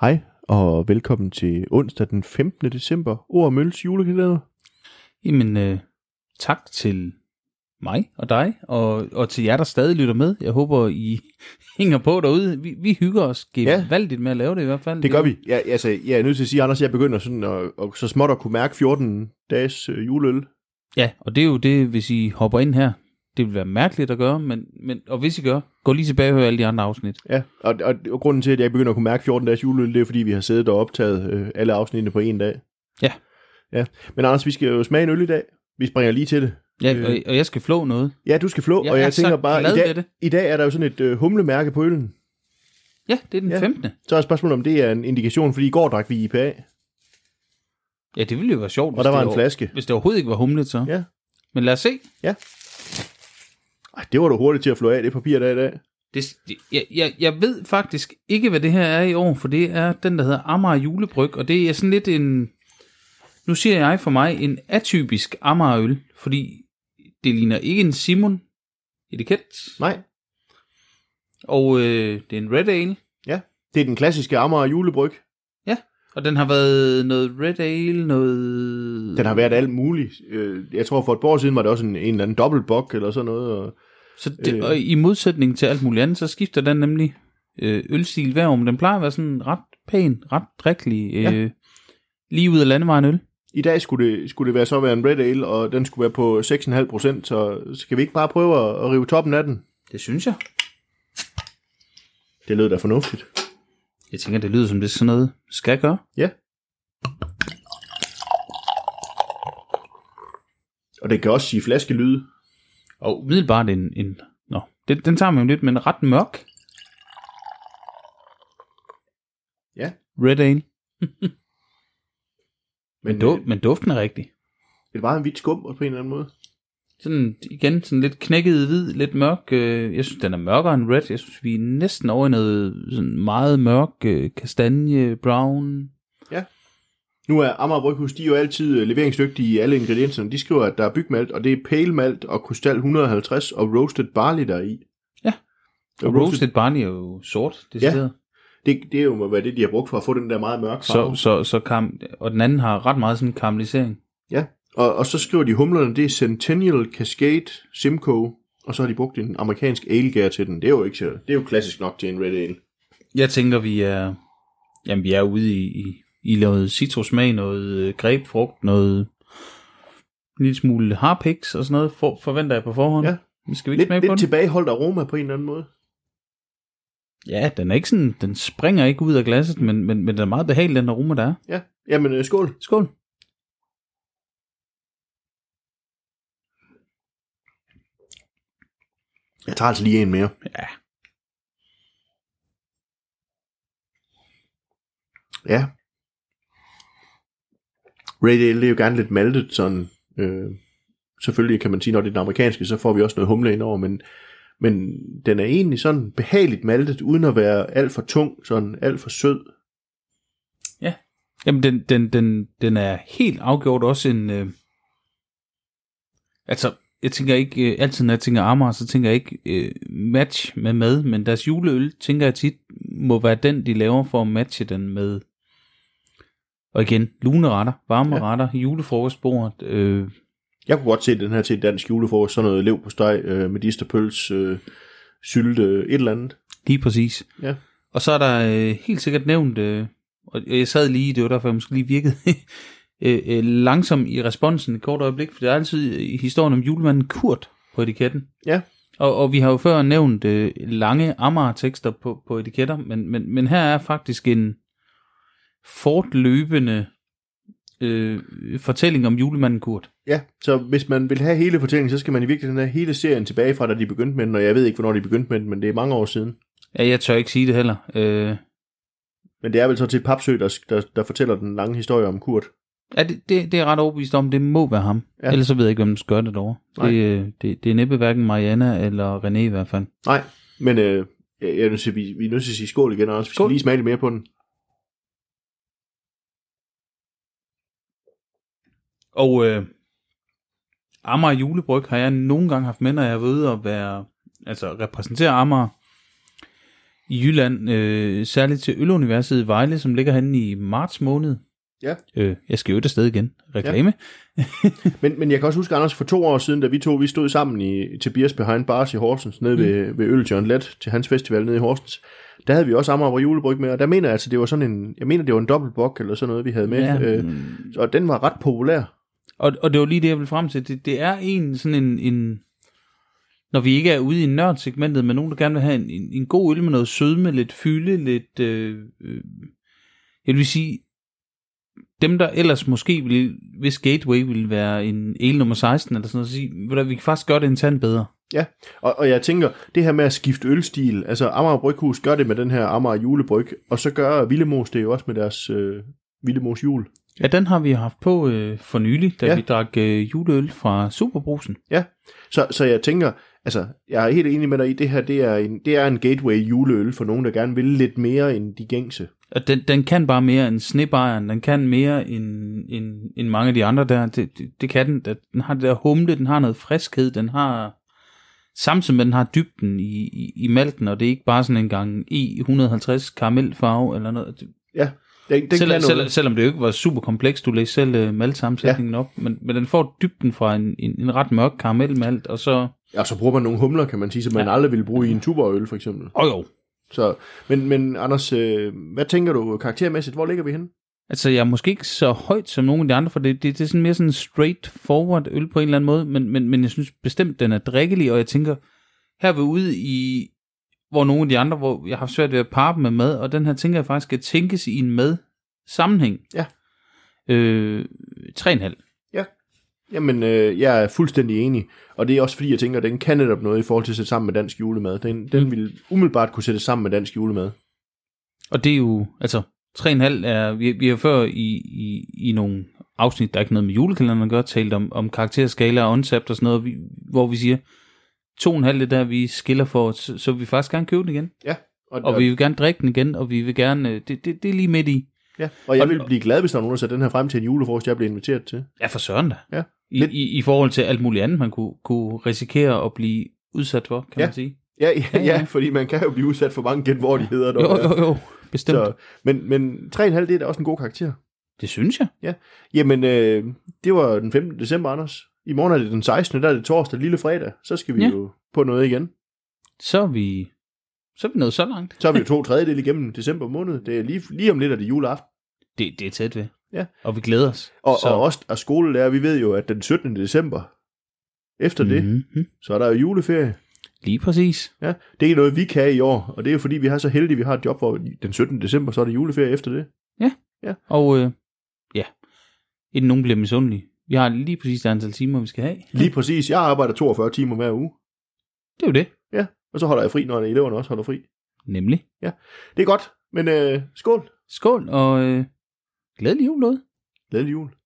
Hej og velkommen til onsdag den 15. december, Ord og Mølles julekalender. Jamen, øh, tak til mig og dig, og, og til jer, der stadig lytter med. Jeg håber, I hænger på derude. Vi, vi hygger os gevaldigt med at lave det i hvert fald. Det gør vi. Jeg, altså, jeg er nødt til at sige, Anders, jeg begynder sådan at, og så småt at kunne mærke 14 dages øh, juleøl. Ja, og det er jo det, hvis I hopper ind her. Det vil være mærkeligt at gøre, men, men og hvis I gør, gå lige tilbage og hør alle de andre afsnit. Ja, og, og, og grunden til, at jeg begynder at kunne mærke 14 dages juleøl, det er, fordi vi har siddet og optaget øh, alle afsnittene på en dag. Ja. Ja, men Anders, vi skal jo smage en øl i dag. Vi springer lige til det. Ja, Øh. og, og jeg skal flå noget. Ja, du skal flå, Jeg og er jeg så tænker bare, glad i ved dag, det. i dag er der jo sådan et øh, humlemærke på øllen. Ja, det er den Ja. ja. 15. Så er spørgsmålet, om det er en indikation, fordi i går drak vi IPA, Ja, det ville jo være sjovt, og der det var en over- flaske. hvis det overhovedet ikke var humlet så. Ja. Men lad os se. Ej, det var du hurtigt til at flå af det papir der i dag. Det, det, jeg, jeg, jeg ved faktisk ikke, hvad det her er i år, for det er den, der hedder Amager Julebryg, og det er sådan lidt en, nu siger jeg for mig, en atypisk Amagerøl, fordi det ligner ikke en Simon etiket, Nej, og øh, det er en Red Ale, det er den klassiske Amager julebryg. og den har været noget Red Ale, noget... Den har været alt muligt. Øh, Jeg tror, for et par år siden var det også en, en eller anden dobbeltbok eller sådan noget. Og, Så det, øh. øh... og i modsætning til alt muligt andet, så skifter den nemlig øh, ølstil hver år, men den plejer at være sådan ret pæn, ret drikkelig, øh, ja. lige ud af landevejen øl. I dag skulle det, skulle det være så være en Red Ale, og den skulle være på 6,5 procent, så skal vi ikke bare prøve at, at rive toppen af den? Det synes jeg. Det lød da fornuftigt. Jeg tænker, det lyder som det er sådan noget skal gøre. Ja. Og det kan også sige flaskelyde. Og umiddelbart en... en nå, den, den tager man jo lidt, men ret mørk. Ja. Red Ale. Men, du, øh, men duften er rigtig. det var en hvidt skum på en eller anden måde. Sådan igen, sådan lidt knækket hvid, lidt mørk. Øh, jeg synes, den er mørkere end Red. Jeg synes, vi er næsten over i noget sådan meget mørk øh, kastanje, brown. Nu er Amager Bryghus, de er jo altid øh, leveringsdygtige i alle ingredienserne. De skriver, at der er bygmalt, og det er pale malt og krystal 150 og roasted barley, der er i. Ja. Og Og roasted, roasted barley er jo sort, det Ja. ja, det, det er jo må være det, de har brugt for at få den der meget mørke så, farve. Så... så, så kam, Og den anden har ret meget sådan karamellisering. Og, og så skriver de humlerne, det er Centennial Cascade Simcoe, og så har de brugt en amerikansk alegær til den. Det er jo ikke så, det er jo klassisk nok til en red ale. Jeg tænker, vi er, jamen, vi er ude i, i, i noget citrusmag, noget øh, grebfrugt, noget en lille smule harpiks og sådan noget, for, forventer jeg på forhånd. Ja. Men skal vi ikke Lidt, smage på lidt den? tilbageholdt aroma på en eller anden måde. Ja, den er ikke sådan, den springer ikke ud af glasset, men, men, men den er meget behagelig, den aroma, der er. Ja, jamen øh, skål. Skål. Jeg tager altså lige en mere. Ja. Ja. Red Ale, det er jo gerne lidt maltet, sådan. Øh, selvfølgelig kan man sige, når det er den amerikanske, så får vi også noget humle indover, men, men den er egentlig sådan behageligt maltet, uden at være alt for tung, sådan alt for sød. Jamen, den, den, den, den er helt afgjort også en... Øh, altså, jeg tænker ikke... Øh, altid, når jeg tænker Amager, så tænker jeg ikke øh, match med mad, men deres juleøl, tænker jeg tit, må være den, de laver for at matche den med... Og igen, lune retter, varme Ja. ja. retter, julefrokostbordet. Øh, Jeg kunne godt se den her til et dansk julefrokost, sådan noget lev på steg, øh, medisterpøls, øh, sylte, øh, et eller andet. lige præcis. Ja. Og så er der øh, helt sikkert nævnt... Øh, og jeg sad lige, det var derfor, jeg måske lige virkede... øh, øh, langsom i responsen et kort øjeblik, for der er altid øh, i historien om julemanden Kurt på etiketten. Ja, Og, og vi har jo før nævnt øh, lange Amager-tekster på, på etiketter, men, men, men her er faktisk en fortløbende øh, fortælling om julemanden Kurt. Ja, så hvis man vil have hele fortællingen, så skal man i virkeligheden have hele serien tilbage fra, da de begyndte med den, og jeg ved ikke, hvornår de begyndte med den, men det er mange år siden. Ja, jeg tør ikke sige det heller. Øh, Men det er vel så til Papsø, der, der, der fortæller den lange historie om Kurt. ja, det, det, det er jeg ret overbevist om, det må være ham. Ja. Ja. Ellers så ved jeg ikke, hvem der gør det derovre. Nej. Det, øh, det, det er næppe hverken Mariana eller René i hvert fald. Nej, men øh, jeg, jeg er nødt til, vi, vi er nødt til at sige skål igen, Anders. Vi skal Skål. lige smage lidt mere på den. Og øh, Amager Julebryg har jeg nogle gange haft med, når jeg er ude at være, altså repræsentere Amager i Jylland, øh, særligt til Øluniversitet i Vejle, som ligger henne i marts måned. Ja. Øh, jeg skal jo et afsted igen. Reklame. Men, men jeg kan også huske, Anders, for to år siden, da vi to vi stod sammen i, til Beers Behind Bars i Horsens, nede ved, ved Øl John Let, til hans festival nede i Horsens, der havde vi også Amager og julebryg med, og der mener jeg altså, det var sådan en, jeg mener, det var en dobbeltbok eller sådan noget, vi havde med, Ja, Mm. ja, øh, og den var ret populær. Og, og det var lige det, jeg ville frem til. Det, det er en sådan en, en... Når vi ikke er ude i nørdsegmentet, men nogen, der gerne vil have en, en, en god øl med noget sødme, lidt fylde, lidt... Øh, øh, jeg vil sige, dem der ellers måske ville, hvis Gateway ville være en el nummer 16 eller sådan noget, så sige, ved du hvad, vi kan faktisk gøre det en tand bedre. Ja, og, og jeg tænker, det her med at skifte ølstil, altså Amager Bryghus gør det med den her Amager julebryg, og så gør Villemos det jo også med deres øh, Villemos jul. Ja, den har vi haft på øh, for nylig, da Ja. ja. vi drak øh, juleøl fra Superbrusen. Ja, så, så jeg tænker, altså, jeg er helt enig med dig i, det her, det er en, det er en gateway juleøl for nogen, der gerne vil lidt mere end de gængse. Og den, den kan bare mere end snebejeren, den kan mere end, end, end mange af de andre der. Det, det, det kan den. Den- Den har det der humle, den har noget friskhed, den har... Samtidig med, at den har dybden i, i, i malten, og det er ikke bare sådan E en gang E150 karamelfarve eller noget. Det- Ja, den, den Selv, kan selv, selvom det jo ikke var super komplekst, du læste selv øh, maltsammensætningen ja. op, men, men den får dybden fra en, en, en ret mørk karamelmalt, og så... Og så bruger man nogle humler, kan man sige, som man ja. aldrig ville bruge i en tuborøl, for eksempel. Åh oh, jo, Så, men, men Anders, øh, hvad tænker du karaktermæssigt? Hvor ligger vi henne? Altså, jeg er måske ikke så højt som nogen af de andre, for det, det, det er sådan mere sådan en straight forward øl på en eller anden måde, men, men, men jeg synes bestemt, den er drikkelig, og jeg tænker, her er vi ude i, hvor nogle af de andre, hvor jeg har haft svært ved at parre dem med mad, og den her tænker jeg faktisk skal tænkes i en med sammenhæng. Ja. Øh, 3,5. Jamen, øh, jeg er fuldstændig enig, og det er også fordi, jeg tænker, at den kan netop noget i forhold til at sætte sammen med dansk julemad. Den, den vil umiddelbart kunne sætte sammen med dansk julemad. Og det er jo, altså, 3,5 er, vi, vi har før i, i, i nogle afsnit, der er ikke noget med julekalenderen at gøre, talt om, om karakterskala og concept og sådan noget, vi, hvor vi siger, 2,5 det der, vi skiller for, så, så vil vi faktisk gerne købe den igen. Ja, og, Og vi vil gerne drikke den igen, og vi vil gerne... øh, Det, det, det er lige midt i. ja, og jeg og- vil blive glad, hvis der er nogen, der sætter den her frem til en julefrokost, jeg bliver inviteret til. Ja, for søren da. Ja, I, lidt- i, I forhold til alt muligt andet, man kunne, kunne risikere at blive udsat for, kan Ja. man sige. Ja, ja, ja, Ja, ja. ja, fordi man kan jo blive udsat for mange genvordigheder. Jo, jo, jo. Bestemt. Så, Så. men, men 3,5 det er da også en god karakter. Det synes jeg. Jamen, øh, det var den 15. december, Anders. I morgen er det den 16. Der er det torsdag, lille fredag. Så skal vi ja. Ja. jo på noget igen. Så er vi, så er vi nået så langt. Så er vi jo to tredjedel igennem december måned. Det er lige, lige om lidt, er det juleaften. Det, det er tæt ved. Ja. Og vi glæder os. Og, så. og os og skolelærer, vi ved jo, at den 17. december, efter det, Mm-hmm. så er der jo juleferie. Lige præcis. Ja, det er noget, vi kan i år, og det er jo fordi, vi har så heldige, at vi har et job, hvor den 17. december, så er det juleferie efter det. Og øh, ja, inden nogen bliver misundelige. Vi har lige præcis det antal timer, vi skal have. Lige præcis. Jeg arbejder 42 timer hver uge, Det er jo det. og så holder jeg fri, når eleverne også holder fri. Nemlig. Det er godt, men øh, skål. Skål, og øh, glædelig jul, Lod. Glædelig jul.